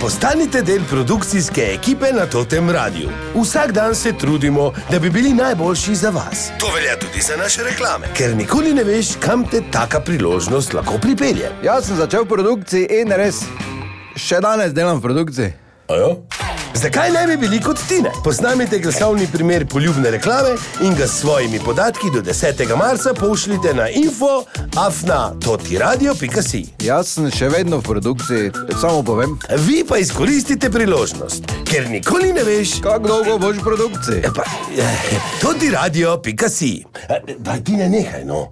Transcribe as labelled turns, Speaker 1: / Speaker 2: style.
Speaker 1: Postanite del produkcijske ekipe na Totem Radiu. Vsak dan se trudimo, da bi bili najboljši za vas. To velja tudi za naše reklame, ker nikoli ne veš, kam te taka priložnost lahko pripelje.
Speaker 2: Jaz sem začel v produkciji in res, še danes delam v produkciji.
Speaker 1: Ajo? Zakaj ne bi bili kot Tine? Posnamite glasovni primer poljubne reklame in ga s svojimi podatki do 10. marca pošljite na info afna.totiradio.si.
Speaker 2: Jaz sem še vedno v produkciji, samo povem,
Speaker 1: Vi pa izkoristite priložnost, ker nikoli ne veš,
Speaker 2: kako dolgo boš v produkciji.
Speaker 1: Pa, eh, tudi radio, pika si. Eh, Daj ti ne nehaj, no.